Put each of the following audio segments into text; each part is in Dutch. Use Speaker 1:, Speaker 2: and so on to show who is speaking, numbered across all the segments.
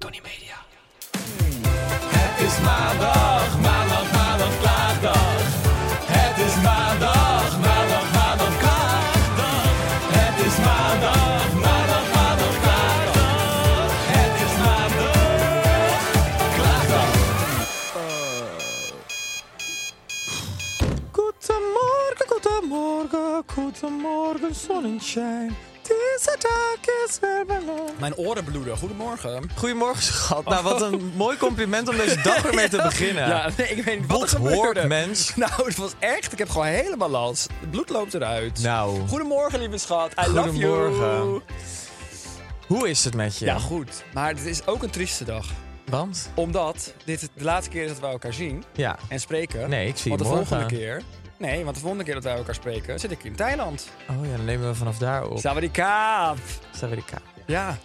Speaker 1: Tony Media.
Speaker 2: Het is maandag, maandag, maandag, klaagdag. Het is maandag, maandag, maandag, klaagdag. Het is maandag, maandag, maandag, klaagdag. Het is maandag, klaagdag.
Speaker 1: Goedemorgen, goedemorgen, goedemorgen, zonneschijn. Deze dag is weer beloond.
Speaker 3: Mijn oren bloeden. Goedemorgen.
Speaker 4: Nou, Goedemorgen, schat. Nou, wat een mooi compliment om deze dag ermee te beginnen.
Speaker 3: Oh. Ja, nee, ik weet niet wat er
Speaker 4: Wat hoort
Speaker 3: gebeurde.
Speaker 4: mens?
Speaker 3: Nou, het was echt. Ik heb gewoon helemaal last. Het bloed loopt eruit.
Speaker 4: Nou.
Speaker 3: Goedemorgen, lieve schat. I love you.
Speaker 4: Goedemorgen. Hoe is het met je?
Speaker 3: Ja, goed. Maar het is ook een trieste dag.
Speaker 4: Want?
Speaker 3: Omdat dit de laatste keer is dat we elkaar zien
Speaker 4: Ja.
Speaker 3: en spreken.
Speaker 4: Nee, ik zie
Speaker 3: Want de
Speaker 4: je morgen.
Speaker 3: volgende keer... Nee, want de volgende keer dat wij elkaar spreken zit ik in Thailand.
Speaker 4: Oh ja, dan nemen we vanaf daar op.
Speaker 3: Sawadikaap.
Speaker 4: Staan we die kaart.
Speaker 3: Ja.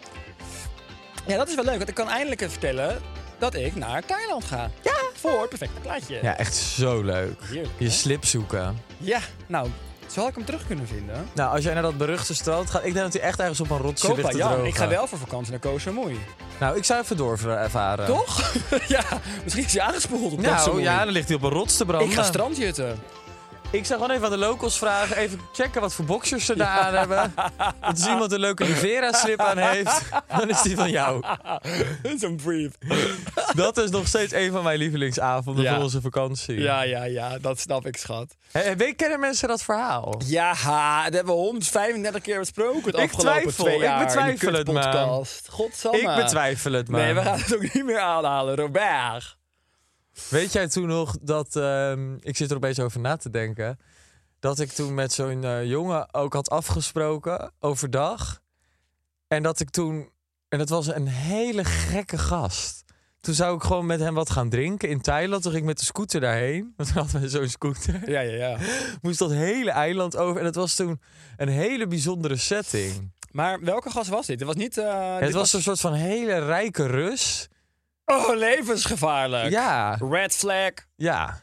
Speaker 3: Ja, dat is wel leuk. Want ik kan eindelijk even vertellen dat ik naar Thailand ga. Ja. Voor het perfecte plaatje.
Speaker 4: Ja, echt zo leuk.
Speaker 3: Heerlijk,
Speaker 4: Je
Speaker 3: hè?
Speaker 4: slip zoeken.
Speaker 3: Ja, nou, zal ik hem terug kunnen vinden?
Speaker 4: Nou, als jij naar dat beruchte strand gaat, ik denk dat hij echt ergens op een rotsje ligt
Speaker 3: Kopa,
Speaker 4: te
Speaker 3: ja.
Speaker 4: drogen.
Speaker 3: Ik ga wel voor vakantie naar Koh Samui.
Speaker 4: Nou, ik zou even doorervaren.
Speaker 3: Toch? ja, misschien is hij aangespoeld op Koh
Speaker 4: Nou
Speaker 3: Samui.
Speaker 4: ja, dan ligt hij op een rots te branden.
Speaker 3: ik ga strandjutten.
Speaker 4: Ik zou gewoon even aan de locals vragen, even checken wat voor boxers ze daar aan hebben. Want als iemand een leuke Rivera-slip aan heeft, dan is die van jou.
Speaker 3: Zo'n brief.
Speaker 4: Dat is nog steeds een van mijn lievelingsavonden
Speaker 3: Ja.
Speaker 4: voor onze vakantie.
Speaker 3: Ja, ja, ja, dat snap ik, schat.
Speaker 4: Hé, weet- kennen mensen dat verhaal?
Speaker 3: Ja, dat hebben we 135 keer besproken het
Speaker 4: Ik
Speaker 3: afgelopen
Speaker 4: twijfel,
Speaker 3: twee
Speaker 4: ik
Speaker 3: jaar.
Speaker 4: betwijfel het maar.
Speaker 3: podcast. Godsamme.
Speaker 4: Ik betwijfel het maar.
Speaker 3: Nee, we gaan het ook niet meer aanhalen, Robert.
Speaker 4: Weet jij toen nog dat, ehm, ik zit er opeens over na te denken, dat ik toen met zo'n eh, jongen ook had afgesproken overdag. En dat ik toen, en dat was een hele gekke gast. Toen zou ik gewoon met hem wat gaan drinken in Thailand. Toen ging ik met de scooter daarheen. Want toen hadden we zo'n scooter.
Speaker 3: Ja, ja, ja.
Speaker 4: Moest dat hele eiland over. En dat was toen een hele bijzondere setting.
Speaker 3: Maar welke gast was dit? Het was niet... eh,
Speaker 4: het
Speaker 3: Ah, dit
Speaker 4: was een soort van hele rijke Rus.
Speaker 3: Oh, levensgevaarlijk.
Speaker 4: Ja,
Speaker 3: Red flag.
Speaker 4: ja.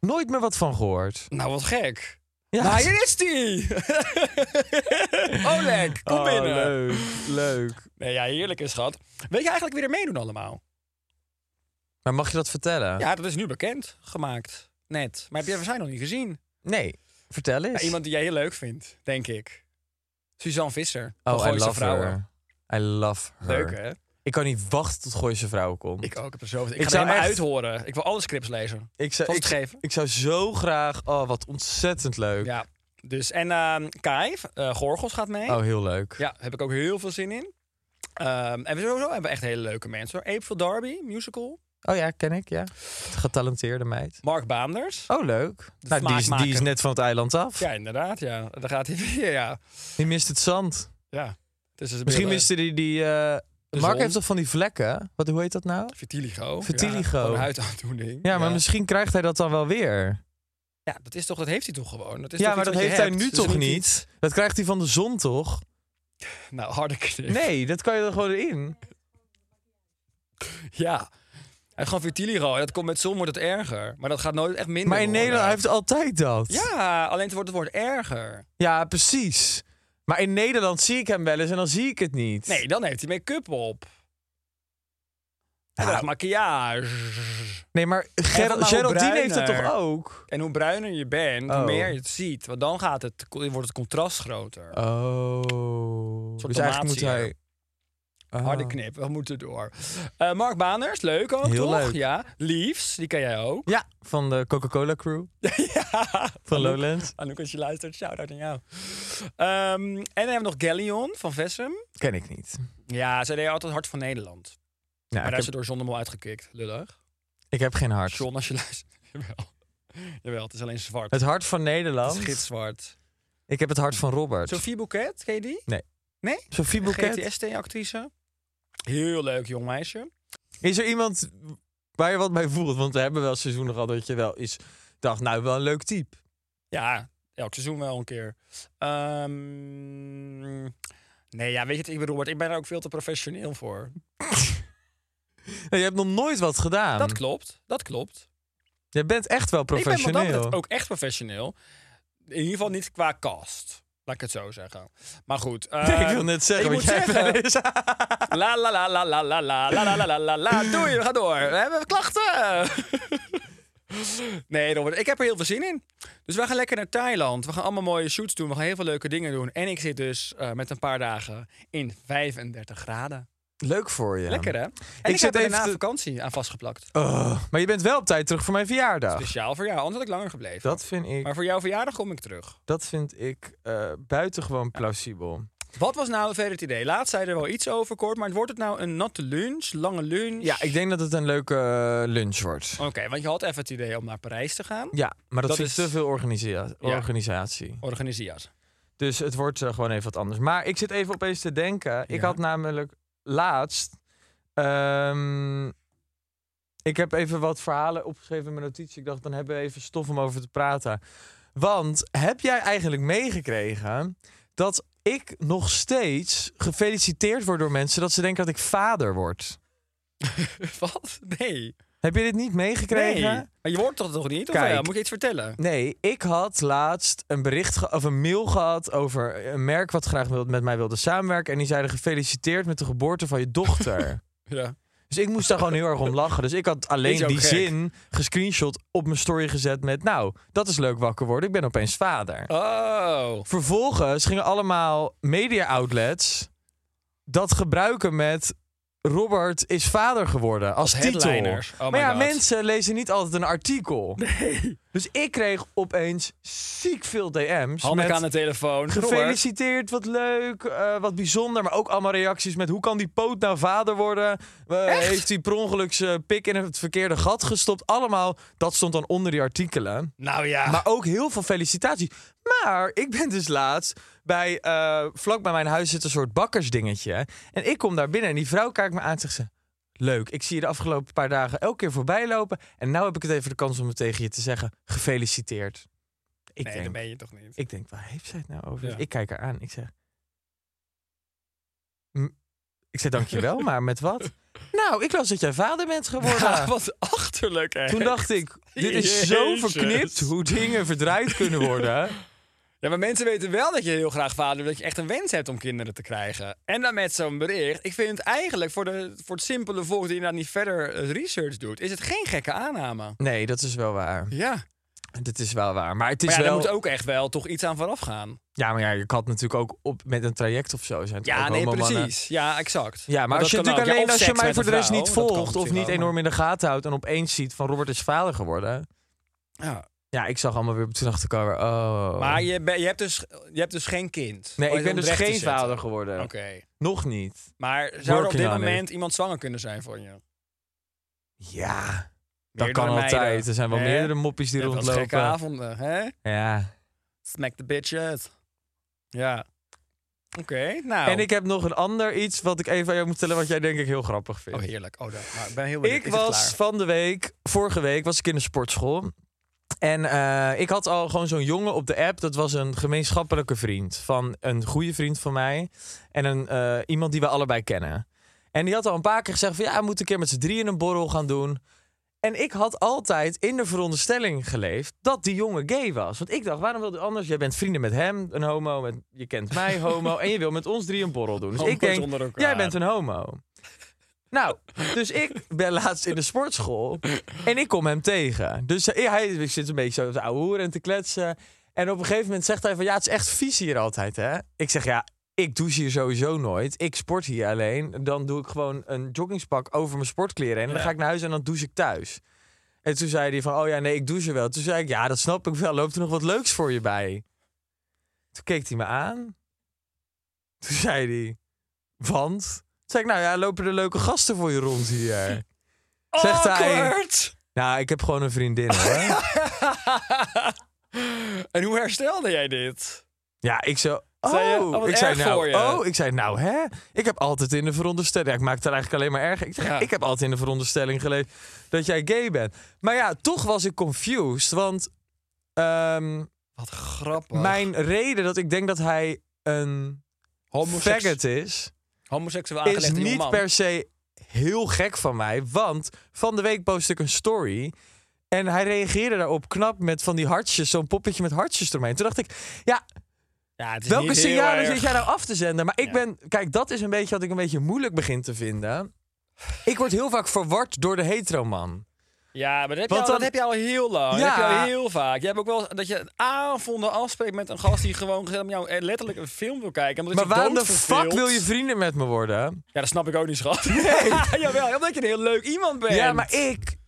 Speaker 4: Nooit meer wat van gehoord.
Speaker 3: Nou, wat gek.
Speaker 4: Ja.
Speaker 3: Maar hier is die! Oleg, kom
Speaker 4: Oh,
Speaker 3: binnen.
Speaker 4: Leuk, leuk.
Speaker 3: Nee, ja, heerlijk is schat. Weet je eigenlijk wie er meedoen allemaal?
Speaker 4: Maar mag je dat vertellen?
Speaker 3: Ja, dat is nu bekend gemaakt. Net. Maar heb jij waarschijnlijk nog niet gezien?
Speaker 4: Nee. Vertel eens.
Speaker 3: Ja, iemand die jij heel leuk vindt, denk ik. Suzanne Visser. van
Speaker 4: oh, I
Speaker 3: Gooise
Speaker 4: love
Speaker 3: Vrouwen.
Speaker 4: her. I love her.
Speaker 3: Leuk, hè?
Speaker 4: Ik kan niet wachten tot Gooise Vrouwen komt.
Speaker 3: Ik ook. Ik heb er zoveel... Ik,
Speaker 4: Ik
Speaker 3: ga
Speaker 4: zou
Speaker 3: er helemaal
Speaker 4: echt-
Speaker 3: uithoren. Ik wil alle scripts lezen.
Speaker 4: ik, zou,
Speaker 3: zal het
Speaker 4: ik,
Speaker 3: geven.
Speaker 4: ik zou zo graag... Oh, wat ontzettend leuk.
Speaker 3: Ja. Dus, en ehm Kai, eh, Gorgels gaat mee.
Speaker 4: Oh, heel leuk.
Speaker 3: Ja, heb ik ook heel veel zin in. Ehm, en we sowieso hebben we echt hele leuke mensen. hoor. April Darby, musical.
Speaker 4: Oh ja, ken ik, ja. Getalenteerde meid.
Speaker 3: Mark Baanders.
Speaker 4: Oh, leuk. Nou, die is, die is
Speaker 3: smaakmaker.
Speaker 4: net van het eiland af.
Speaker 3: Ja, inderdaad, ja. Daar gaat hij weer, ja.
Speaker 4: Die mist het zand.
Speaker 3: ja. Dus is
Speaker 4: Misschien miste die... die eh, Mark
Speaker 3: zon.
Speaker 4: heeft toch van die vlekken? Wat, hoe heet dat nou?
Speaker 3: Vitiligo.
Speaker 4: Vitiligo.
Speaker 3: Ja, gewoon een huidaandoening.
Speaker 4: Ja, maar misschien krijgt hij dat dan wel weer.
Speaker 3: Ja, dat, is toch, dat heeft hij toch gewoon? Dat is
Speaker 4: ja,
Speaker 3: toch
Speaker 4: maar dat
Speaker 3: iets wat je
Speaker 4: heeft hij
Speaker 3: hebt?
Speaker 4: nu
Speaker 3: Dus
Speaker 4: toch
Speaker 3: er
Speaker 4: niet?
Speaker 3: iets-
Speaker 4: Dat krijgt hij van de zon, toch?
Speaker 3: Nou, harde knip.
Speaker 4: Nee, dat kan je er gewoon in.
Speaker 3: Ja. Hij heeft gewoon vitiligo. En dat komt met zon wordt het erger. Maar dat gaat nooit echt minder
Speaker 4: Maar in
Speaker 3: worden.
Speaker 4: Nederland hij heeft altijd dat.
Speaker 3: Ja, alleen het wordt het wordt erger.
Speaker 4: Ja, precies. Maar in Nederland zie ik hem wel eens en dan zie ik het niet.
Speaker 3: Nee, dan heeft hij make-up op. En
Speaker 4: Nou.
Speaker 3: dan maquillage.
Speaker 4: nee maar
Speaker 3: En
Speaker 4: Ger
Speaker 3: wat nou
Speaker 4: Geraldine
Speaker 3: bruiner?
Speaker 4: heeft dat toch ook?
Speaker 3: En hoe bruiner je bent,
Speaker 4: Oh.
Speaker 3: hoe meer je het ziet. Want dan gaat het, wordt het contrast groter.
Speaker 4: Oh.
Speaker 3: soort
Speaker 4: Dus eigenlijk moet
Speaker 3: tomaatje.
Speaker 4: hij... Ah.
Speaker 3: Harde knip, we moeten door. Eh, Mark Baners, leuk ook,
Speaker 4: Heel
Speaker 3: toch?
Speaker 4: leuk.
Speaker 3: Ja, Leaves, die ken jij ook.
Speaker 4: Ja, van de Coca-Cola crew
Speaker 3: ja.
Speaker 4: van Lowlands.
Speaker 3: Anouk, als je luistert, shout-out aan jou. Ehm, en dan hebben we nog Gallion van Vessem.
Speaker 4: Ken ik niet.
Speaker 3: Ja, zij deed altijd Hart van Nederland.
Speaker 4: Nou,
Speaker 3: maar
Speaker 4: ik,
Speaker 3: daar
Speaker 4: heb,
Speaker 3: is ze door John de Mol uitgekikt, lullig.
Speaker 4: ik heb geen hart.
Speaker 3: John, als je luistert. Jawel. Jawel, het is alleen zwart.
Speaker 4: Het hart van
Speaker 3: Het
Speaker 4: Nederland.
Speaker 3: is gitzwart.
Speaker 4: Ik heb het hart van Robert. Sophie,
Speaker 3: Sophie Bouquet, ken je die?
Speaker 4: Nee.
Speaker 3: Nee?
Speaker 4: Bouquet.
Speaker 3: GTST-actrice. Heel leuk jong meisje.
Speaker 4: Is er iemand waar je wat mee voelt? Want we hebben wel seizoenen gehad dat je wel is dacht, nou, wel een leuk type.
Speaker 3: Ja, elk seizoen wel een keer. Ehm, nee, ja, weet je, het, ik ben Robert, ik ben er ook veel te professioneel voor.
Speaker 4: Nou, je hebt nog nooit wat gedaan.
Speaker 3: Dat klopt, dat klopt.
Speaker 4: Je bent echt wel
Speaker 3: Ik ben wat dat
Speaker 4: professioneel.
Speaker 3: betreft ook echt professioneel. In ieder geval niet qua cast. Laat ik het zo zeggen. Maar goed.
Speaker 4: Nee,
Speaker 3: eh,
Speaker 4: ik wil net zeggen,
Speaker 3: ik
Speaker 4: want jij
Speaker 3: moet zeggen-
Speaker 4: bent-
Speaker 3: La la la la la la la la la la la la la. Doei, we gaan door. We hebben klachten. Nee, Robert, ik heb er heel veel zin in. Dus wij gaan lekker naar Thailand. We gaan allemaal mooie shoots doen. We gaan heel veel leuke dingen doen. En ik zit dus eh, met een paar dagen in 35 graden.
Speaker 4: Leuk voor je.
Speaker 3: Lekker, hè? En ik,
Speaker 4: zit
Speaker 3: heb er
Speaker 4: even
Speaker 3: daarna
Speaker 4: te-
Speaker 3: vakantie aan vastgeplakt.
Speaker 4: Oh, maar je bent wel op tijd terug voor mijn verjaardag.
Speaker 3: Speciaal voor jou, anders had ik langer gebleven.
Speaker 4: Dat vind ik,
Speaker 3: Maar voor jouw verjaardag kom ik terug.
Speaker 4: dat vind ik eh, buitengewoon plausibel.
Speaker 3: Wat was nou verder het idee? Laatst zei er wel iets over, kort. Maar wordt het nou een natte lunch, lange lunch?
Speaker 4: Ja, ik denk dat het een leuke eh, lunch wordt.
Speaker 3: Oké, want je had even het idee om naar Parijs te gaan.
Speaker 4: Ja, maar dat,
Speaker 3: Dat
Speaker 4: vind
Speaker 3: is-
Speaker 4: ik te veel organisa- organisatie.
Speaker 3: Organiseer.
Speaker 4: Dus het wordt eh, gewoon even wat anders. Maar ik zit even opeens te denken. Ik
Speaker 3: Ja.
Speaker 4: had namelijk laatst. ehm, ik heb even wat verhalen opgeschreven in mijn notities. Ik dacht, dan hebben we even stof om over te praten. Want heb jij eigenlijk meegekregen dat ik nog steeds gefeliciteerd word door mensen dat ze denken dat ik vader word?
Speaker 3: Wat? Nee.
Speaker 4: Heb je dit niet meegekregen?
Speaker 3: Nee. Maar je hoort dat toch niet? Of
Speaker 4: Kijk.
Speaker 3: wel? moet je iets vertellen?
Speaker 4: Nee, ik had laatst een bericht ge- of een mail gehad over een merk wat graag wil- met mij wilde samenwerken. En die zeiden gefeliciteerd met de geboorte van je dochter.
Speaker 3: Ja.
Speaker 4: dus ik moest daar gewoon heel erg om lachen. Dus ik had alleen
Speaker 3: Is ook
Speaker 4: die
Speaker 3: gek.
Speaker 4: zin gescreenshot op mijn story gezet met... Nou, dat is leuk wakker worden. Ik ben opeens vader.
Speaker 3: Oh.
Speaker 4: Vervolgens gingen allemaal media outlets dat gebruiken met... Robert is vader geworden als
Speaker 3: Als
Speaker 4: titel.
Speaker 3: headliners. Oh my
Speaker 4: maar ja,
Speaker 3: God.
Speaker 4: mensen lezen niet altijd een artikel. Dus ik kreeg opeens ziek veel DM's.
Speaker 3: Hanneke
Speaker 4: met
Speaker 3: aan de telefoon. Robert.
Speaker 4: Gefeliciteerd, wat leuk, eh, wat bijzonder. Maar ook allemaal reacties met hoe kan die poot nou vader worden? Eh, heeft hij per ongeluk zijn pik in het verkeerde gat gestopt? Allemaal, dat stond dan onder die artikelen.
Speaker 3: Nou ja.
Speaker 4: Maar ook heel veel felicitaties. Maar ik ben dus laatst bij, eh, vlak bij mijn huis zit een soort bakkersdingetje. En ik kom daar binnen en die vrouw kijkt me aan en zegt ze... Leuk, ik zie je de afgelopen paar dagen elke keer voorbij lopen. En nou heb ik het even de kans om het tegen je te zeggen. Gefeliciteerd. Ik,
Speaker 3: nee, dat
Speaker 4: denk,
Speaker 3: ben je toch niet.
Speaker 4: ik denk, waar heeft zij het nou over?
Speaker 3: Ja.
Speaker 4: Ik kijk haar aan. Ik zeg... "M- Ik zeg, dankjewel, maar met wat? Nou, ik las dat jij vader bent geworden.
Speaker 3: Ja, wat achterlijk, hè?
Speaker 4: Toen dacht ik, dit is zo
Speaker 3: Jezus.
Speaker 4: verknipt hoe dingen verdraaid kunnen worden.
Speaker 3: Ja, maar mensen weten wel dat je heel graag vader... dat je echt een wens hebt om kinderen te krijgen. En dan met zo'n bericht. Ik vind het eigenlijk voor, de, voor het simpele volk... die inderdaad niet verder eh, research doet... is het geen gekke aanname.
Speaker 4: Nee, dat is wel waar.
Speaker 3: Ja. Maar
Speaker 4: Dat is wel waar. Maar het is
Speaker 3: ja, daar
Speaker 4: wel...
Speaker 3: moet ook echt wel toch iets aan vooraf gaan.
Speaker 4: Ja, maar ja, je kan het natuurlijk ook op met een traject of zo zijn. het
Speaker 3: Ja,
Speaker 4: ook
Speaker 3: nee,
Speaker 4: homomannen.
Speaker 3: precies. Ja, exact.
Speaker 4: Ja, maar
Speaker 3: Want
Speaker 4: als je
Speaker 3: dat kan
Speaker 4: natuurlijk
Speaker 3: ook.
Speaker 4: alleen
Speaker 3: Ja, of
Speaker 4: als je
Speaker 3: seks
Speaker 4: mij
Speaker 3: met
Speaker 4: voor de
Speaker 3: een
Speaker 4: rest
Speaker 3: vrouw,
Speaker 4: niet
Speaker 3: dat kan
Speaker 4: volgt of
Speaker 3: natuurlijk
Speaker 4: niet
Speaker 3: ook, maar-
Speaker 4: enorm in de gaten houdt en opeens ziet van Robert is vader geworden.
Speaker 3: Ja.
Speaker 4: Ja, ik zag allemaal weer, toen dacht ik alweer, oh.
Speaker 3: Maar je, ben- je, hebt dus, je hebt dus geen kind.
Speaker 4: nee,
Speaker 3: Om
Speaker 4: ik ben
Speaker 3: om
Speaker 4: dus
Speaker 3: recht te
Speaker 4: geen
Speaker 3: zetten.
Speaker 4: vader geworden.
Speaker 3: Oké.
Speaker 4: Nog niet.
Speaker 3: Maar zou er op
Speaker 4: Working
Speaker 3: dit
Speaker 4: on it.
Speaker 3: moment iemand zwanger kunnen zijn van je?
Speaker 4: Ja, dat
Speaker 3: Meerdere
Speaker 4: kan
Speaker 3: meiden.
Speaker 4: altijd. Er zijn wel
Speaker 3: Hè?
Speaker 4: meerdere moppies die
Speaker 3: Net als
Speaker 4: rondlopen.
Speaker 3: gekke avonden, hè?
Speaker 4: Ja.
Speaker 3: Smack the bitch uit. Ja. Oké, nou.
Speaker 4: En ik heb nog een ander iets wat ik even aan jou moet vertellen, wat jij denk ik heel grappig vindt.
Speaker 3: Oh, heerlijk. Oh, dat- nou, ik ben heel benieuwd.
Speaker 4: Ik
Speaker 3: Is het
Speaker 4: was
Speaker 3: klaar?
Speaker 4: van de week, vorige week was ik in de sportschool. En eh, ik had al gewoon zo'n jongen op de app. Dat was een gemeenschappelijke vriend. Van een goede vriend van mij. En een, eh, iemand die we allebei kennen. En die had al een paar keer gezegd van... Ja, we moeten een keer met z'n drieën een borrel gaan doen. En ik had altijd in de veronderstelling geleefd dat die jongen gay was. Want ik dacht, waarom wil je anders? Jij bent vrienden met hem, een homo. Met, je kent mij, homo. en je wil met ons drie een borrel doen. Dus ik
Speaker 3: Homo's
Speaker 4: denk,
Speaker 3: onder elkaar.
Speaker 4: jij bent een homo. Nou, dus ik ben laatst in de sportschool en ik kom hem tegen. Dus hij, hij- ik zit een beetje zo te ouwehoeren en te kletsen. En op een gegeven moment zegt hij van, ja, het is echt vies hier altijd, hè? Ik zeg, ja, ik douche hier sowieso nooit. Ik sport hier alleen. Dan doe ik gewoon een joggingspak over mijn sportkleren. heen. En dan ga ik naar huis en dan douche ik thuis. En toen zei hij van, oh ja, nee, ik douche wel. Toen zei ik, ja, dat snap ik wel. Loopt er nog wat leuks voor je bij? Toen keek hij me aan. Toen zei hij, want? Toen zei ik, nou ja, lopen er leuke gasten voor je rond hier? Zegt hij,
Speaker 3: Awkward!
Speaker 4: nou, ik heb gewoon een vriendin, hoor.
Speaker 3: En hoe herstelde jij dit?
Speaker 4: Ja, ik zo. Oh,
Speaker 3: Zei je, oh, wat
Speaker 4: ik zei
Speaker 3: erg
Speaker 4: nou,
Speaker 3: voor je.
Speaker 4: oh, ik zei nou, hè? Ik heb altijd in de veronderstelling. Ja, ik maak het eigenlijk alleen maar erg. Ik, zeg,
Speaker 3: Ja.
Speaker 4: ik heb altijd in de veronderstelling geleefd dat jij gay bent. Maar ja, toch was ik confused, want ehm,
Speaker 3: Wat grappig.
Speaker 4: mijn reden dat ik denk dat hij een
Speaker 3: Homoseks-
Speaker 4: faggot is,
Speaker 3: homoseksueel
Speaker 4: is
Speaker 3: aangelegd
Speaker 4: niet
Speaker 3: jongeman.
Speaker 4: per se heel gek van mij, want van de week post ik een story. En hij reageerde daarop knap met van die hartjes, zo'n poppetje met hartjes eromheen. Toen dacht ik, ja,
Speaker 3: Ja, het is
Speaker 4: Welke
Speaker 3: niet heel
Speaker 4: signalen
Speaker 3: erg.
Speaker 4: zit jij nou af te zenden? Maar ik
Speaker 3: Ja.
Speaker 4: ben, kijk, dat is een beetje wat ik een beetje moeilijk begin te vinden. Ik word heel vaak verward door de heteroman.
Speaker 3: Ja, maar dat heb, je
Speaker 4: Want
Speaker 3: al,
Speaker 4: dan-
Speaker 3: dat heb je al heel lang.
Speaker 4: Ja.
Speaker 3: Dat heb je al heel vaak. Je hebt ook wel eens dat je avonden afspreekt met een gast die gewoon gezellig met jou eh, letterlijk een film wil kijken. Omdat
Speaker 4: Maar
Speaker 3: hij zich
Speaker 4: waarom de fuck
Speaker 3: doodverveelt.
Speaker 4: wil je vrienden met me worden?
Speaker 3: Ja, dat snap ik ook niet, schat. Nee. Jawel, omdat je een heel leuk iemand bent.
Speaker 4: Ja, maar ik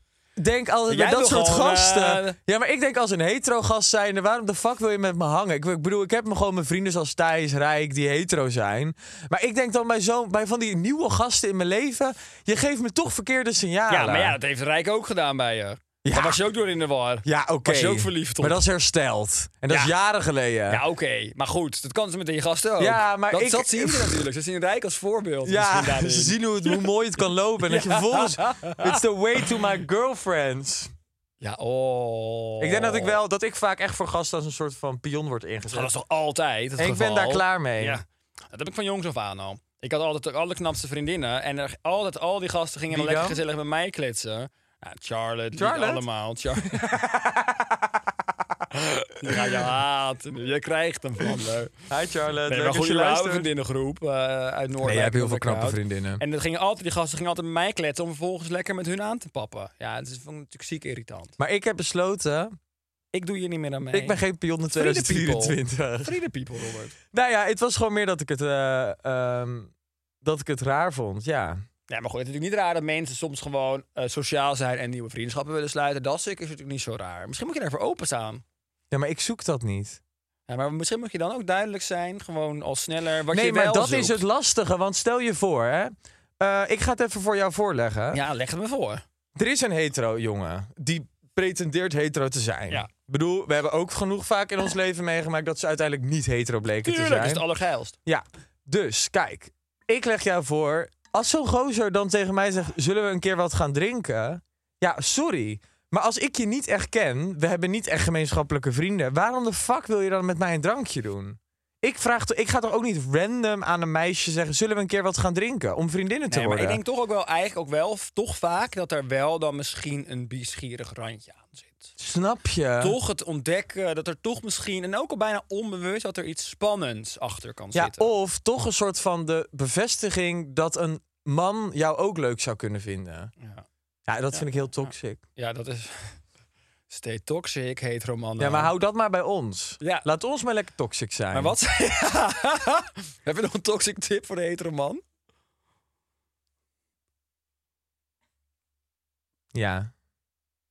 Speaker 4: denk altijd bij
Speaker 3: Jij
Speaker 4: dat
Speaker 3: wil
Speaker 4: soort
Speaker 3: gewoon,
Speaker 4: gasten.
Speaker 3: eh,
Speaker 4: Ja, maar ik denk als een hetero gast zijnde, waarom de fuck wil je met me hangen? Ik, ik bedoel, ik heb me gewoon mijn vrienden zoals Thijs, Rijk, die hetero zijn. Maar ik denk dan bij, zo, bij van die nieuwe gasten in mijn leven, je geeft me toch verkeerde signalen.
Speaker 3: Ja, maar ja, dat heeft Rijk ook gedaan bij je.
Speaker 4: Ja.
Speaker 3: Daar was je ook door in de war.
Speaker 4: Ja, oké.
Speaker 3: Was je ook verliefd op.
Speaker 4: Maar dat is hersteld. En dat is
Speaker 3: Ja.
Speaker 4: jaren geleden.
Speaker 3: Ja, oké. Maar goed, dat kan ze met je gasten ook.
Speaker 4: Ja, maar
Speaker 3: dat,
Speaker 4: ik-
Speaker 3: dat zien ze natuurlijk. Ze zien Rijk als voorbeeld.
Speaker 4: Ja,
Speaker 3: misschien daarin.
Speaker 4: ze zien hoe, het, hoe mooi het kan lopen. En dat je vervolgens... It's the way to my girlfriends.
Speaker 3: Ja, oh.
Speaker 4: Ik denk dat ik wel... Dat ik vaak echt voor gasten als een soort van pion word ingezet.
Speaker 3: Dat is toch altijd het
Speaker 4: En ik ben
Speaker 3: geval?
Speaker 4: daar klaar mee.
Speaker 3: Ja. Dat heb ik van jongs af aan al. Ik had altijd ook alle knapste vriendinnen. En er, altijd al die gasten gingen dan
Speaker 4: Wie
Speaker 3: lekker
Speaker 4: dan?
Speaker 3: gezellig met mij kletsen. Ja, Charlotte,
Speaker 4: Charlotte?
Speaker 3: Niet allemaal. Char Die ga je haten. nu. Je krijgt hem van me.
Speaker 4: Hi Charlotte,
Speaker 3: Nee,
Speaker 4: leuk
Speaker 3: maar
Speaker 4: dat je
Speaker 3: goede oude
Speaker 4: luistert.
Speaker 3: vriendinnengroep eh, uit Noord.
Speaker 4: Nee, jij hebt heel veel knappe vriendinnen.
Speaker 3: En dat gingen altijd, die gasten gingen altijd met mij kletsen om vervolgens lekker met hun aan te pappen. Ja, het is vond ik natuurlijk ziek irritant.
Speaker 4: Maar ik heb besloten...
Speaker 3: Ik doe je niet meer aan mee.
Speaker 4: Ik ben geen pion in
Speaker 3: Vrienden people.
Speaker 4: 2024.
Speaker 3: Vrienden people, Robert.
Speaker 4: Nou ja, het was gewoon meer dat ik het... eh, ehm, dat ik het raar vond, ja.
Speaker 3: Ja, maar goed, het is natuurlijk niet raar dat mensen soms gewoon eh, sociaal zijn en nieuwe vriendschappen willen sluiten. Dat stuk is natuurlijk niet zo raar. Misschien moet je daarvoor openstaan.
Speaker 4: Ja, maar ik zoek dat niet.
Speaker 3: Ja, maar misschien moet je dan ook duidelijk zijn, gewoon al sneller, wat
Speaker 4: nee,
Speaker 3: je
Speaker 4: maar
Speaker 3: wel
Speaker 4: dat
Speaker 3: zoekt.
Speaker 4: is het lastige. Want stel je voor, hè. eh, ik ga het even voor jou voorleggen.
Speaker 3: Ja, leg het me voor.
Speaker 4: Er is een hetero jongen die pretendeert hetero te zijn.
Speaker 3: Ja.
Speaker 4: Ik bedoel, we hebben ook genoeg vaak in ons leven meegemaakt dat ze uiteindelijk niet hetero bleken
Speaker 3: Tuurlijk,
Speaker 4: te
Speaker 3: dat is
Speaker 4: zijn.
Speaker 3: het allergeilst.
Speaker 4: Ja, dus kijk, ik leg jou voor, als zo'n gozer dan tegen mij zegt, zullen we een keer wat gaan drinken? Ja, sorry. Maar als ik je niet echt ken, we hebben niet echt gemeenschappelijke vrienden, waarom de fuck wil je dan met mij een drankje doen? Ik, vraag, to- ik ga toch ook niet random aan een meisje zeggen, zullen we een keer wat gaan drinken? Om vriendinnen te
Speaker 3: Nee, maar
Speaker 4: worden.
Speaker 3: ik denk toch ook wel, eigenlijk ook wel, f- toch vaak, dat er wel dan misschien een bieschierig randje aan zit.
Speaker 4: Snap je?
Speaker 3: Toch het ontdekken dat er toch misschien, en ook al bijna onbewust, dat er iets spannends achter kan
Speaker 4: Ja, oh.
Speaker 3: zitten.
Speaker 4: of toch een soort van de bevestiging dat een man jou ook leuk zou kunnen vinden.
Speaker 3: Ja.
Speaker 4: Ja, dat vind ik heel toxic.
Speaker 3: Ja, dat is... Stay toxic, heet Romano.
Speaker 4: Ja, maar hou dat maar bij ons.
Speaker 3: Ja.
Speaker 4: Laat ons maar lekker toxic zijn.
Speaker 3: Maar wat? Heb je nog een toxic tip voor de hetero man?
Speaker 4: Ja.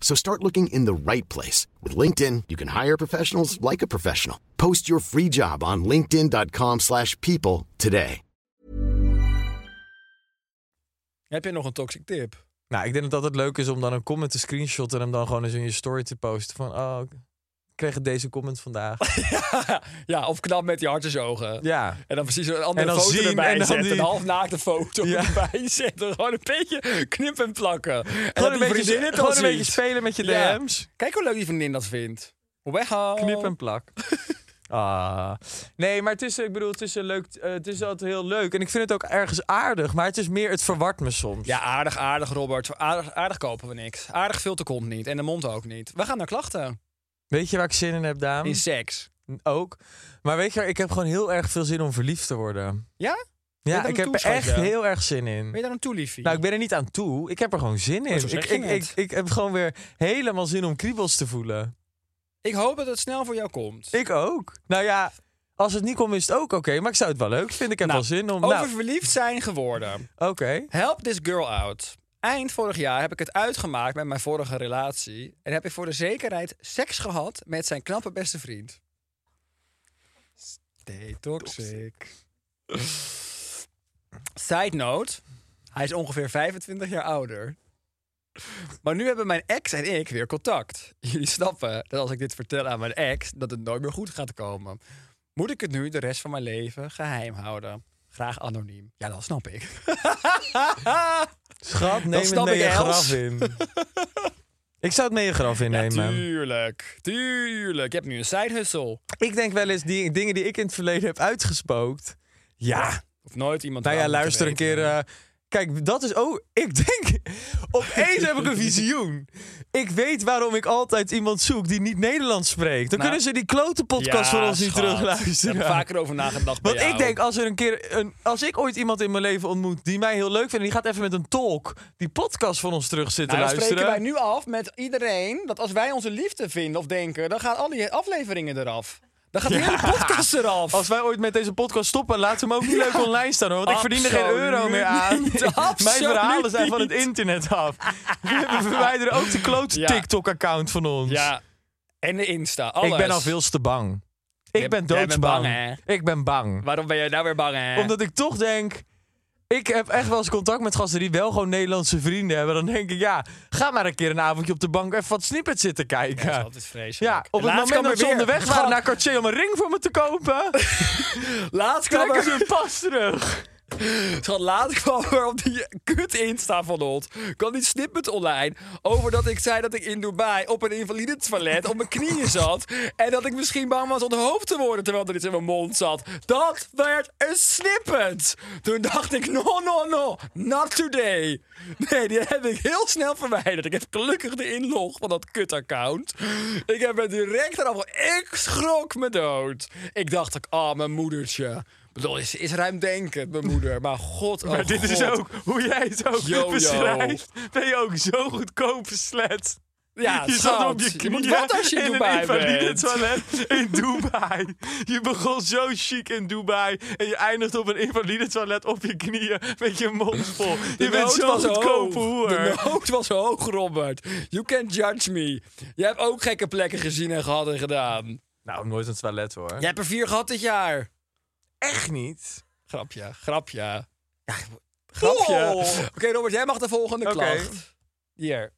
Speaker 5: So start looking in the right place. With LinkedIn, you can hire professionals like a professional. Post your free job on linkedin.com/people slash people today.
Speaker 3: Heb je nog een toxic tip?
Speaker 4: Nou, ik denk dat het altijd leuk is om dan een comment te screenshotten en hem dan gewoon eens in je story te posten. Van, oh, ik kreeg deze comment vandaag.
Speaker 3: ja, of knap met die hartjesogen.
Speaker 4: ja.
Speaker 3: En dan precies een andere
Speaker 4: En dan
Speaker 3: foto
Speaker 4: zien,
Speaker 3: erbij
Speaker 4: en dan
Speaker 3: zetten.
Speaker 4: die-
Speaker 3: Een halfnaakte foto
Speaker 4: Ja.
Speaker 3: erbij zetten. Gewoon een beetje knip en plakken. En dat
Speaker 4: Gewoon, een
Speaker 3: die
Speaker 4: beetje,
Speaker 3: vriendinnen
Speaker 4: gewoon een
Speaker 3: dan
Speaker 4: beetje
Speaker 3: ziet.
Speaker 4: spelen met je
Speaker 3: Ja. Oh.
Speaker 4: DM's.
Speaker 3: Kijk hoe leuk die vriendin dat vindt. Wauw.
Speaker 4: Knip en plak. Ah. Nee, maar het is, ik bedoel, het is, een leuk, eh, het is altijd heel leuk. En ik vind het ook ergens aardig, maar het is meer, het verwart me soms.
Speaker 3: Ja, aardig, aardig, Robert. Aardig, aardig kopen we niks. Aardig vult de kont niet en de mond ook niet. We gaan naar klachten.
Speaker 4: Weet je waar ik zin in heb, Daan?
Speaker 3: In seks.
Speaker 4: Ook. Maar weet je, waar, ik heb gewoon heel erg veel zin om verliefd te worden.
Speaker 3: Ja? Ben je
Speaker 4: Ja,
Speaker 3: daar
Speaker 4: ik
Speaker 3: aan
Speaker 4: heb
Speaker 3: toe,
Speaker 4: er echt
Speaker 3: schatje?
Speaker 4: heel erg zin in.
Speaker 3: Ben je daar aan toe, liefie?
Speaker 4: Nou, ik ben er niet aan toe. Ik heb er gewoon zin in.
Speaker 3: zo
Speaker 4: ik,
Speaker 3: zeg je
Speaker 4: ik,
Speaker 3: het.
Speaker 4: ik, ik heb gewoon weer helemaal zin om kriebels te voelen.
Speaker 3: ik hoop dat het snel voor jou komt.
Speaker 4: Ik ook. Nou ja, als het niet komt is het ook oké. maar ik zou het wel leuk vinden. Ik heb
Speaker 3: Nou,
Speaker 4: wel zin om...
Speaker 3: Over
Speaker 4: Nou,
Speaker 3: verliefd zijn geworden.
Speaker 4: oké.
Speaker 3: Help this girl out. Eind vorig jaar heb ik het uitgemaakt met mijn vorige relatie. En heb ik voor de zekerheid seks gehad met zijn knappe beste vriend. Stay toxic. Side note. Hij is ongeveer 25 jaar ouder. Maar nu hebben mijn ex en ik weer contact. Jullie snappen dat als ik dit vertel aan mijn ex, dat het nooit meer goed gaat komen. Moet ik het nu de rest van mijn leven geheim houden? Graag anoniem. Ja, dat snap ik.
Speaker 4: Schat, neem het
Speaker 3: snap
Speaker 4: mee
Speaker 3: ik
Speaker 4: je
Speaker 3: Els.
Speaker 4: graf in. ik zou het mee je graf innemen.
Speaker 3: Tuurlijk, tuurlijk. Je hebt nu een side hustle.
Speaker 4: ik denk wel eens die dingen die ik in het verleden heb uitgespookt. Ja.
Speaker 3: Of nooit iemand.
Speaker 4: Nou ja,
Speaker 3: waarom
Speaker 4: luister een
Speaker 3: moeten
Speaker 4: keer.
Speaker 3: weten.
Speaker 4: eh, kijk, dat is ook. Ik denk. Opeens heb ik een visioen. Ik weet waarom ik altijd iemand zoek die niet Nederlands spreekt. Dan
Speaker 3: Nou.
Speaker 4: kunnen ze die klote podcast
Speaker 3: Ja,
Speaker 4: van ons niet
Speaker 3: schat.
Speaker 4: terugluisteren.
Speaker 3: Ik heb er vaker over nagedacht. bij
Speaker 4: Want ik
Speaker 3: jou.
Speaker 4: denk, als er een keer. Een, als ik ooit iemand in mijn leven ontmoet die mij heel leuk vindt. en die gaat even met een tolk die podcast van ons terug zitten
Speaker 3: Nou, dan
Speaker 4: luisteren.
Speaker 3: spreken wij nu af met iedereen dat als wij onze liefde vinden of denken, dan gaan al die afleveringen eraf. Dan gaat de hele podcast eraf.
Speaker 4: Als wij ooit met deze podcast stoppen, laten we hem ook niet leuk online staan hoor. Want ik verdien er geen
Speaker 3: Absoluut
Speaker 4: euro meer aan.
Speaker 3: niet,
Speaker 4: Mijn
Speaker 3: absoluut
Speaker 4: verhalen zijn van
Speaker 3: niet.
Speaker 4: het internet af. We verwijderen ook de klote
Speaker 3: Ja.
Speaker 4: TikTok-account van ons.
Speaker 3: Ja, en de Insta. Alles.
Speaker 4: Ik ben al veel te bang.
Speaker 3: Jij-
Speaker 4: Ik ben
Speaker 3: jij bent
Speaker 4: doodsbang.
Speaker 3: bang,
Speaker 4: ik ben bang.
Speaker 3: Waarom ben jij nou weer bang, hè?
Speaker 4: Omdat ik toch denk. Ik heb echt wel eens contact met gasten die wel gewoon Nederlandse vrienden hebben. Dan denk ik, ja, ga maar een keer een avondje op de bank even wat snippets zitten kijken.
Speaker 3: Ja, dat is vreselijk.
Speaker 4: Ja, op het
Speaker 3: Laatst
Speaker 4: moment
Speaker 3: kwam
Speaker 4: dat
Speaker 3: er
Speaker 4: ze
Speaker 3: weer-
Speaker 4: onderweg waren nou,
Speaker 3: Schat,
Speaker 4: naar Cartier om een ring voor me te kopen,
Speaker 3: Laatst kwam
Speaker 4: trekken
Speaker 3: er
Speaker 4: ze hun pas terug.
Speaker 3: Schat, later kwam er op die kut Insta van ons. Kwam die snippet online over dat ik zei dat ik in Dubai op een invalide toilet op mijn knieën zat. En dat ik misschien bang was onthoofd te worden terwijl er iets in mijn mond zat. Dat werd een snippet. Toen dacht ik, no, no, no, not today. Nee, die heb ik heel snel verwijderd. Ik heb gelukkig de inlog van dat kut-account. Ik heb het direct eraf. Ik schrok me dood. Ik dacht, ik, ah, mijn moedertje. Ik bedoel, is, is ruimdenkend, mijn moeder. Maar god, oh
Speaker 4: maar dit is
Speaker 3: God.
Speaker 4: ook hoe jij het ook
Speaker 3: Yo, yo.
Speaker 4: beschrijft. Ben je ook zo goedkoop slet.
Speaker 3: Ja,
Speaker 4: je
Speaker 3: schat,
Speaker 4: zat op je knieën
Speaker 3: moet wat als je in Dubai
Speaker 4: een invalide
Speaker 3: bent.
Speaker 4: toilet in Dubai. Je begon zo chic in Dubai en je eindigt op een invalide toilet op je knieën met je mond vol.
Speaker 3: De
Speaker 4: Je bent
Speaker 3: nood
Speaker 4: zo
Speaker 3: was
Speaker 4: goedkope
Speaker 3: hoog.
Speaker 4: hoer.
Speaker 3: De nood was hoog, Robert. You can't judge me. Jij hebt ook gekke plekken gezien en gehad en gedaan.
Speaker 4: Nou, nooit een toilet hoor.
Speaker 3: Jij hebt er vier gehad dit jaar.
Speaker 4: Echt niet.
Speaker 3: Grapje, grapje. Ja, grapje.
Speaker 4: Wow.
Speaker 3: Oké, Robert, jij mag de volgende
Speaker 4: Oké.
Speaker 3: klacht. Hier,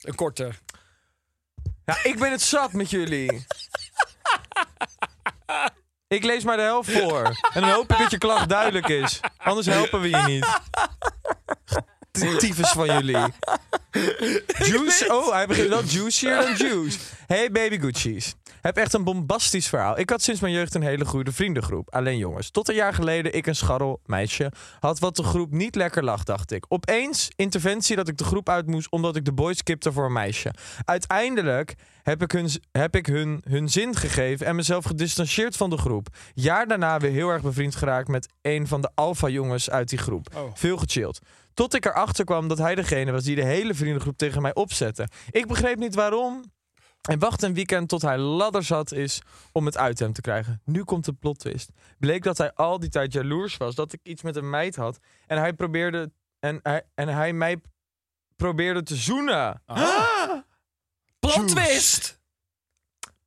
Speaker 3: een korte.
Speaker 4: Ja, ik ben het zat met jullie. Ik lees maar de helft voor. En dan hoop ik dat je klacht duidelijk is. Anders helpen we je niet. Tyfus van jullie. Juice. Oh, hij begint wel juicier dan juice. Hey baby Gucci's. Heb echt een bombastisch verhaal. Ik had sinds mijn jeugd een hele goede vriendengroep. Alleen jongens. Tot een jaar geleden, ik een scharrel meisje. Had wat de groep niet lekker lag, dacht ik. Opeens interventie dat ik de groep uit moest omdat ik de boys kipte voor een meisje. Uiteindelijk heb ik, hun, heb ik hun hun zin gegeven en mezelf gedistanceerd van de groep. Jaar daarna weer heel erg bevriend geraakt met een van de alfa-jongens uit die groep. Veel gechilled. Tot ik erachter kwam dat hij degene was die de hele vriendengroep tegen mij opzette. Ik begreep niet waarom. En wacht een weekend tot hij ladderzat is om het uit hem te krijgen. Nu komt de plot twist. Bleek dat hij al die tijd jaloers was dat ik iets met een meid had. En hij probeerde, en hij, en hij mij probeerde te zoenen.
Speaker 3: Plot twist!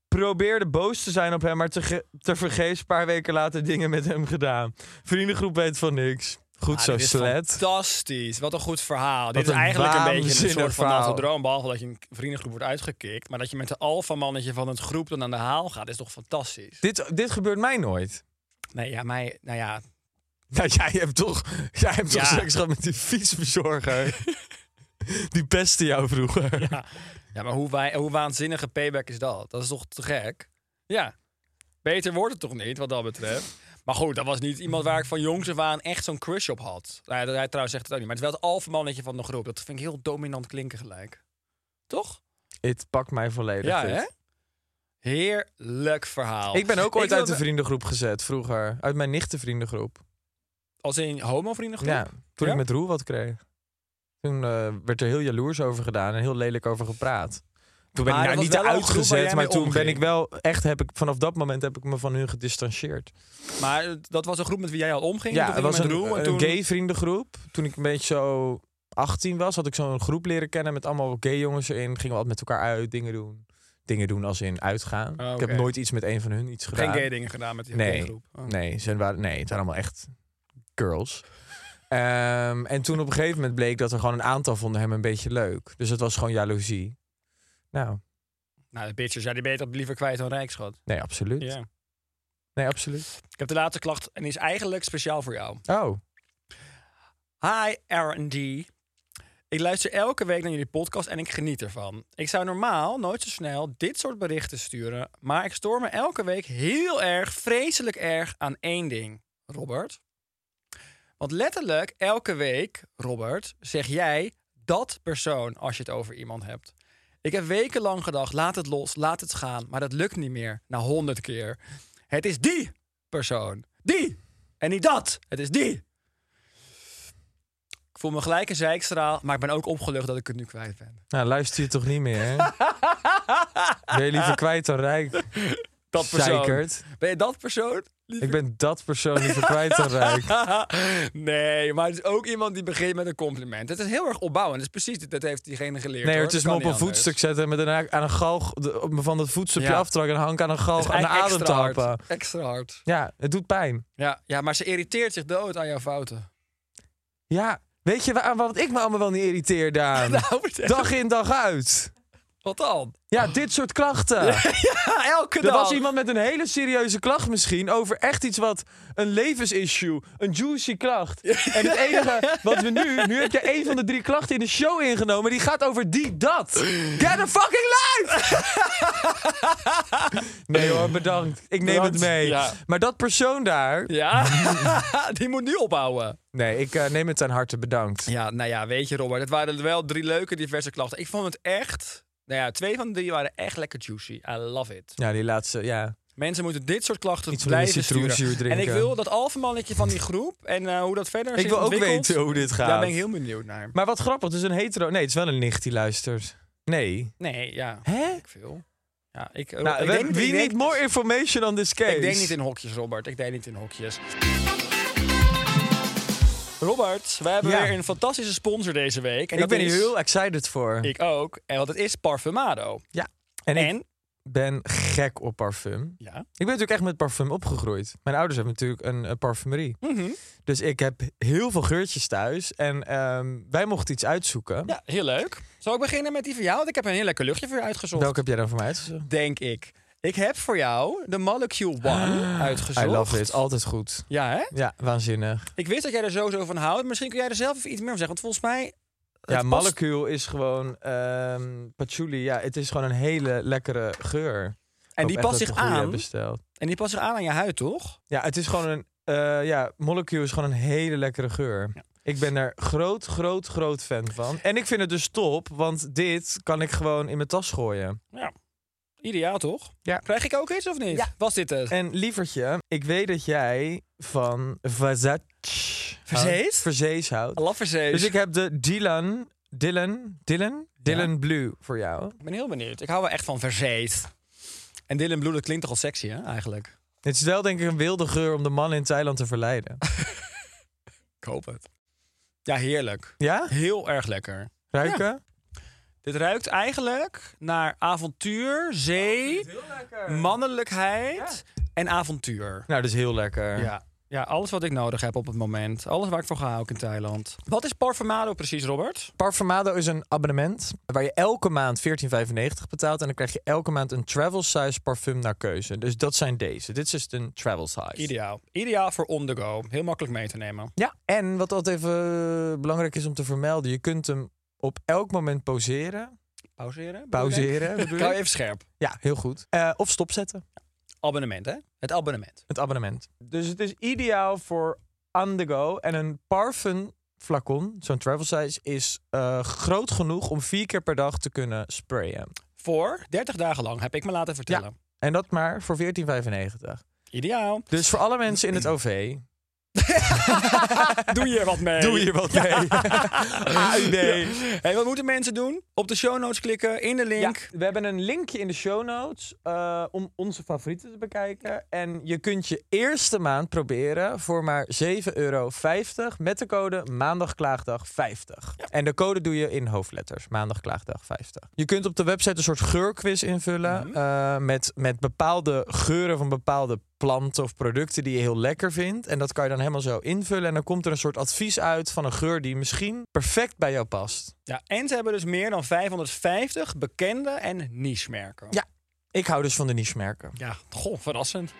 Speaker 4: probeerde boos te zijn op hem, maar te, vergeefs paar weken later dingen met hem gedaan. Vriendengroep weet van niks. Goed
Speaker 3: Ah,
Speaker 4: zo,
Speaker 3: dit is
Speaker 4: slet.
Speaker 3: Fantastisch. Wat een goed verhaal. Dit is
Speaker 4: een
Speaker 3: eigenlijk een beetje een
Speaker 4: waanzinnig
Speaker 3: soort van
Speaker 4: verhaal.
Speaker 3: natte droom. Behalve dat je een vriendengroep wordt uitgekikt. Maar dat je met de alfamannetje van het groep dan aan de haal gaat, is toch fantastisch?
Speaker 4: Dit, dit gebeurt mij nooit.
Speaker 3: Nee, ja, mij, nou ja.
Speaker 4: Nou, jij hebt toch, jij hebt toch
Speaker 3: Ja.
Speaker 4: seks gehad met die fietsbezorger. die pestte jou vroeger.
Speaker 3: Ja, maar hoe, wij, hoe waanzinnige payback is dat? Dat is toch te gek? Ja. Beter wordt het toch niet, wat dat betreft. Maar goed, dat was niet iemand waar ik van jongs af aan echt zo'n crush op had. Nou ja, dat- hij trouwens zegt het ook niet. Maar het is wel het alfamannetje van de groep. Dat vind ik heel dominant klinken gelijk. Toch?
Speaker 4: Het pakt mij volledig.
Speaker 3: Ja,
Speaker 4: dit.
Speaker 3: hè? Heerlijk verhaal.
Speaker 4: Ik ben ook ooit
Speaker 3: wil
Speaker 4: uit de
Speaker 3: be-
Speaker 4: vriendengroep gezet vroeger. Uit mijn nichtenvriendengroep.
Speaker 3: Als in homo-vriendengroep?
Speaker 4: Ja, toen
Speaker 3: Ja?
Speaker 4: ik met Roel wat kreeg. Toen eh, werd er heel jaloers over gedaan en heel lelijk over gepraat. Toen ben
Speaker 3: Maar
Speaker 4: ik
Speaker 3: dat
Speaker 4: nou
Speaker 3: was
Speaker 4: niet
Speaker 3: wel een groep waar
Speaker 4: uitgezet,
Speaker 3: jij
Speaker 4: maar
Speaker 3: mee
Speaker 4: toen ben
Speaker 3: omging.
Speaker 4: ik wel echt, heb ik, vanaf dat moment heb ik me van hun gedistanceerd.
Speaker 3: Maar eh, dat was een groep met wie jij al omging?
Speaker 4: Ja,
Speaker 3: Toen
Speaker 4: het
Speaker 3: ging
Speaker 4: was
Speaker 3: je
Speaker 4: een,
Speaker 3: met Roel en
Speaker 4: een
Speaker 3: toen...
Speaker 4: gay vriendengroep. Toen ik een beetje zo 18 was, had ik zo'n groep leren kennen met allemaal gay jongens erin. Gingen we altijd met elkaar uit, dingen doen. Dingen doen als in uitgaan.
Speaker 3: Oh,
Speaker 4: Ik
Speaker 3: oké.
Speaker 4: heb nooit iets met een van hun iets gedaan.
Speaker 3: Geen gay dingen gedaan met die
Speaker 4: Nee.
Speaker 3: nee. groep. Oh.
Speaker 4: Nee, ze waren, nee, het waren allemaal echt girls. Ehm, en toen op een gegeven moment bleek dat er gewoon een aantal vonden hem een beetje leuk. Dus het was gewoon jaloezie. Nou,
Speaker 3: Nou, de bitches, ja, die ben je toch liever kwijt dan rijkschat.
Speaker 4: nee, absoluut.
Speaker 3: Ja.
Speaker 4: Nee, absoluut.
Speaker 3: Ik heb de laatste klacht en die is eigenlijk speciaal voor jou.
Speaker 4: Oh,
Speaker 3: Hi R&D. Ik luister elke week naar jullie podcast en ik geniet ervan. Ik zou normaal nooit zo snel dit soort berichten sturen, maar ik stoor me elke week heel erg, vreselijk erg aan één ding, Robert. Want letterlijk elke week, Robert, zeg jij dat persoon als je het over iemand hebt. Ik heb wekenlang gedacht, laat het los, laat het gaan, maar dat lukt niet meer na honderd keer. Het is die persoon, die en niet dat. Het is die ik voel me gelijk een zeikstraal, maar ik ben ook opgelucht dat ik het nu kwijt ben.
Speaker 4: nou luister je toch niet meer, hè? ben je liever kwijt dan rijk?
Speaker 3: Dat persoon.
Speaker 4: Zeikert.
Speaker 3: Ben je dat persoon?
Speaker 4: Ik ben dat persoon liever kwijt dan rijk.
Speaker 3: nee, maar het is ook iemand die begint met een compliment. Het is heel erg opbouwend. Dat is precies dit. Dat heeft diegene geleerd.
Speaker 4: Nee,
Speaker 3: hoor.
Speaker 4: het is
Speaker 3: Dat
Speaker 4: me
Speaker 3: kan
Speaker 4: op een
Speaker 3: niet anders.
Speaker 4: voetstuk zetten en met een, aan een galg de- op- van dat voetstukje
Speaker 3: Ja.
Speaker 4: aftrakken en hank aan een
Speaker 3: Het
Speaker 4: galg
Speaker 3: is
Speaker 4: aan de adem
Speaker 3: eigenlijk extra hard.
Speaker 4: tappen.
Speaker 3: Extra hard.
Speaker 4: Ja, het doet pijn.
Speaker 3: Ja, ja, maar ze irriteert zich dood aan jouw fouten.
Speaker 4: Ja, weet je waar, wat ik me allemaal wel niet irriteer, Daan?
Speaker 3: Nou, vertel.
Speaker 4: dag in, dag uit.
Speaker 3: Wat dan?
Speaker 4: Ja, dit soort klachten.
Speaker 3: Ja, elke
Speaker 4: Er
Speaker 3: dag.
Speaker 4: was iemand met een hele serieuze klacht misschien over echt iets wat een levensissue, een juicy klacht. En het enige wat we nu, nu heb je één van de drie klachten in de show ingenomen, die gaat over die dat. Get a fucking life! Nee hoor, bedankt. Ik neem
Speaker 3: Bedankt.
Speaker 4: het mee.
Speaker 3: Ja.
Speaker 4: Maar dat persoon daar,
Speaker 3: Ja, die moet nu ophouden.
Speaker 4: nee, ik eh, neem het aan harte bedankt.
Speaker 3: Ja, nou ja, weet je Robert, het waren wel drie leuke diverse klachten. Ik vond het echt, nou ja, twee van de drie waren echt lekker juicy. I love it.
Speaker 4: Ja, die laatste, ja.
Speaker 3: Mensen moeten dit soort klachten
Speaker 4: Iets van
Speaker 3: blijven
Speaker 4: een citroenzuur
Speaker 3: sturen.
Speaker 4: drinken.
Speaker 3: En ik wil dat alfamannetje van die groep en eh, hoe dat verder
Speaker 4: Ik
Speaker 3: zich
Speaker 4: wil ook
Speaker 3: ontwikkelt,
Speaker 4: weten hoe dit gaat.
Speaker 3: Daar ben ik heel benieuwd naar.
Speaker 4: Maar wat grappig, dus een hetero... Nee, het is wel een nicht die luistert. Nee.
Speaker 3: Nee, ja.
Speaker 4: Hè?
Speaker 3: Ik veel. Ja, ik, eh,
Speaker 4: Nou,
Speaker 3: ik
Speaker 4: we-
Speaker 3: denk,
Speaker 4: we
Speaker 3: ik denk-
Speaker 4: need more information on this case.
Speaker 3: Ik denk niet in hokjes, Robert. Ik denk niet in hokjes. Robert, we hebben
Speaker 4: Ja.
Speaker 3: weer een fantastische sponsor deze week. En
Speaker 4: ik
Speaker 3: dat
Speaker 4: ben
Speaker 3: is-
Speaker 4: hier heel excited voor.
Speaker 3: Ik ook. En want het is Parfumado.
Speaker 4: ja. En, ik
Speaker 3: En?
Speaker 4: ben gek op parfum.
Speaker 3: Ja.
Speaker 4: Ik ben natuurlijk echt met parfum opgegroeid. Mijn ouders hebben natuurlijk een, eh, parfumerie.
Speaker 3: Mhm.
Speaker 4: Dus ik heb heel veel geurtjes thuis. En ehm, wij mochten iets uitzoeken.
Speaker 3: Ja, heel leuk. Zal ik beginnen met die voor jou? Want ik heb een heel lekker luchtje voor je uitgezocht.
Speaker 4: Welke heb jij dan voor mij uitgezocht?
Speaker 3: Denk ik. Ik heb voor jou de Molecule One uitgezocht.
Speaker 4: Ah, I love it. Altijd goed.
Speaker 3: Ja, hè?
Speaker 4: Ja, waanzinnig.
Speaker 3: Ik wist dat jij er sowieso van houdt. Misschien kun jij er zelf even iets meer van zeggen. Want volgens mij...
Speaker 4: Ja,
Speaker 3: past-
Speaker 4: molecule is gewoon ehm, patchouli. Ja, het is gewoon een hele lekkere geur.
Speaker 3: En
Speaker 4: Hoop
Speaker 3: die
Speaker 4: echt
Speaker 3: past
Speaker 4: dat
Speaker 3: zich
Speaker 4: we een goede
Speaker 3: aan.
Speaker 4: hebben besteld.
Speaker 3: En die past zich aan aan je huid, toch?
Speaker 4: Ja, het is gewoon een. eh, ja, Molecule is gewoon een hele lekkere geur. Ik ben er groot, groot, groot fan van. En ik vind het dus top, want dit kan ik gewoon in mijn tas gooien.
Speaker 3: Ja. Ideaal, toch?
Speaker 4: Ja.
Speaker 3: Krijg ik ook iets of niet?
Speaker 4: Ja.
Speaker 3: Was dit het?
Speaker 4: En lievertje, ik weet dat jij van Versace.
Speaker 3: Verzees?
Speaker 4: houdt- Verzees houdt.
Speaker 3: Lafferzees.
Speaker 4: Dus ik heb de Dylan. Dylan. Dylan? Dylan Blue voor jou.
Speaker 3: Ik ben heel benieuwd. Ik hou wel echt van verzeet. En Dylan Blue, dat klinkt toch al sexy, hè? Eigenlijk.
Speaker 4: Het is wel denk ik een wilde geur om de man in Thailand te verleiden.
Speaker 3: Ik hoop het. Ja, heerlijk.
Speaker 4: Ja?
Speaker 3: Heel erg lekker.
Speaker 4: Ruiken?
Speaker 3: Dit ruikt eigenlijk naar avontuur, zee, mannelijkheid en avontuur.
Speaker 4: Nou, dat is heel lekker.
Speaker 3: Ja. ja, alles wat ik nodig heb op het moment. Alles waar ik voor ga hou ik in Thailand. Wat is Parfumado precies, Robert?
Speaker 4: Parfumado is een abonnement waar je elke maand 14,95 betaalt. En dan krijg je elke maand een travel size parfum naar keuze. Dus dat zijn deze. Dit is dus een travel size.
Speaker 3: Ideaal. Ideaal voor on the go. Heel makkelijk mee te nemen.
Speaker 4: Ja, en wat altijd even eh, belangrijk is om te vermelden. Je kunt hem op elk moment pauzeren.
Speaker 3: Pauzeren? bedoel je?
Speaker 4: Pauzeren. bedoel
Speaker 3: Hou je
Speaker 4: ik?
Speaker 3: even scherp.
Speaker 4: Ja, heel goed. Eh, of stopzetten.
Speaker 3: Abonnement, hè? Het abonnement.
Speaker 4: Het abonnement. Dus het is ideaal voor on the go. En een parfum flacon, zo'n travel size, is eh, groot genoeg om vier keer per dag te kunnen sprayen.
Speaker 3: Voor 30 dagen lang heb ik me laten vertellen.
Speaker 4: En dat maar voor 14,95.
Speaker 3: Ideaal.
Speaker 4: Dus voor alle mensen in het OV,
Speaker 3: Doe je wat mee.
Speaker 4: doe hier wat mee. AUB.
Speaker 3: Hey, wat moeten mensen doen? Op de show notes klikken, in de link.
Speaker 4: Ja, we hebben een linkje in de show notes eh, om onze favorieten te bekijken. En je kunt je eerste maand proberen voor maar 7,50 euro met de code maandagklaagdag50. En de code doe je in hoofdletters, maandagklaagdag50. Je kunt op de website een soort geurquiz invullen eh, met, met bepaalde geuren van bepaalde planten of producten die je heel lekker vindt. En dat kan je dan helemaal zo invullen. En dan komt er een soort advies uit van een geur die misschien perfect bij jou past.
Speaker 3: Ja, en ze hebben dus meer dan 550 bekende en niche-merken.
Speaker 4: Ja, ik hou dus van de niche merken.
Speaker 3: Ja, goh, verrassend.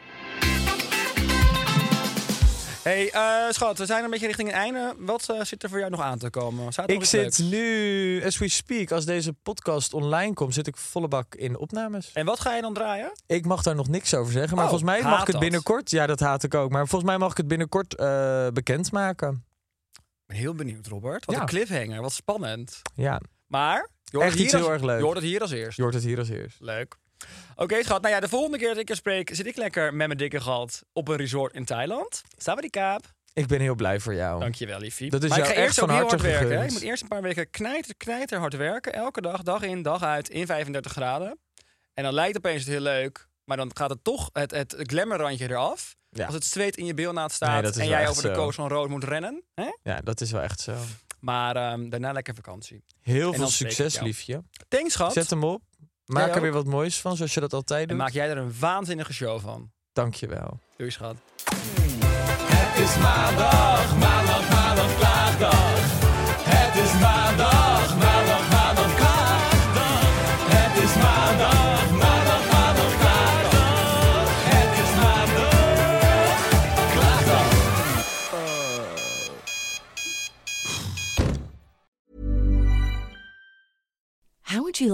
Speaker 3: hey, eh, schat, we zijn een beetje richting het einde. Wat eh, zit er voor jou nog aan te komen? Staat er nog
Speaker 4: Ik
Speaker 3: iets
Speaker 4: zit
Speaker 3: leuks?
Speaker 4: nu, as we speak, als deze podcast online komt, zit ik volle bak in opnames.
Speaker 3: En wat ga je dan draaien?
Speaker 4: Ik mag daar nog niks over zeggen, maar
Speaker 3: Oh,
Speaker 4: volgens mij mag
Speaker 3: haat
Speaker 4: ik het
Speaker 3: dat.
Speaker 4: binnenkort... Ja, dat haat ik ook, maar volgens mij mag ik het binnenkort eh, bekendmaken.
Speaker 3: Ik ben heel benieuwd, Robert. Wat
Speaker 4: Ja.
Speaker 3: een cliffhanger, wat spannend.
Speaker 4: Ja,
Speaker 3: Maar, je hoort
Speaker 4: Echt
Speaker 3: het
Speaker 4: iets
Speaker 3: hier
Speaker 4: heel
Speaker 3: als-
Speaker 4: erg leuk.
Speaker 3: Je hoort het hier als eerst.
Speaker 4: je hoort het hier als eerst.
Speaker 3: Leuk. Oké, schat. Nou ja, de volgende keer dat ik je spreek, zit ik lekker met mijn dikke gat op een resort in Thailand. Sawadikaap.
Speaker 4: Ik ben heel blij voor jou.
Speaker 3: Dankjewel, liefie.
Speaker 4: Dat is
Speaker 3: maar ik ga
Speaker 4: jou
Speaker 3: eerst
Speaker 4: echt
Speaker 3: ook
Speaker 4: van
Speaker 3: heel hard
Speaker 4: harte
Speaker 3: werken. hè. Ik
Speaker 4: gegund.
Speaker 3: moet eerst een paar weken knijter, knijter hard werken. Elke dag, dag in, dag uit, in 35 graden. En dan lijkt opeens het heel leuk. Maar dan gaat het toch het, het glamourrandje eraf.
Speaker 4: Ja.
Speaker 3: Als het zweet in je bilnaad staat
Speaker 4: Nee, dat is
Speaker 3: en
Speaker 4: wel
Speaker 3: jij
Speaker 4: echt
Speaker 3: over de
Speaker 4: zo.
Speaker 3: koos van rood moet rennen. Hè?
Speaker 4: Ja, dat is wel echt zo.
Speaker 3: Maar ehm, daarna lekker vakantie.
Speaker 4: Heel
Speaker 3: dan
Speaker 4: veel
Speaker 3: spreek ik
Speaker 4: succes,
Speaker 3: jou.
Speaker 4: liefje.
Speaker 3: Thanks, schat.
Speaker 4: Zet hem op. Maak
Speaker 3: ook.
Speaker 4: er weer wat moois van, zoals je dat altijd
Speaker 3: en
Speaker 4: doet.
Speaker 3: maak jij er een waanzinnige show van.
Speaker 4: Dank je wel.
Speaker 3: Doei, schat.
Speaker 2: Het is maandag, maandag, maandag, klaagdag. Het is maandag, maandag, maandag, klaagdag. Het is maandag, maandag, maandag, klaagdag. Het is maandag, klaagdag.
Speaker 6: How would you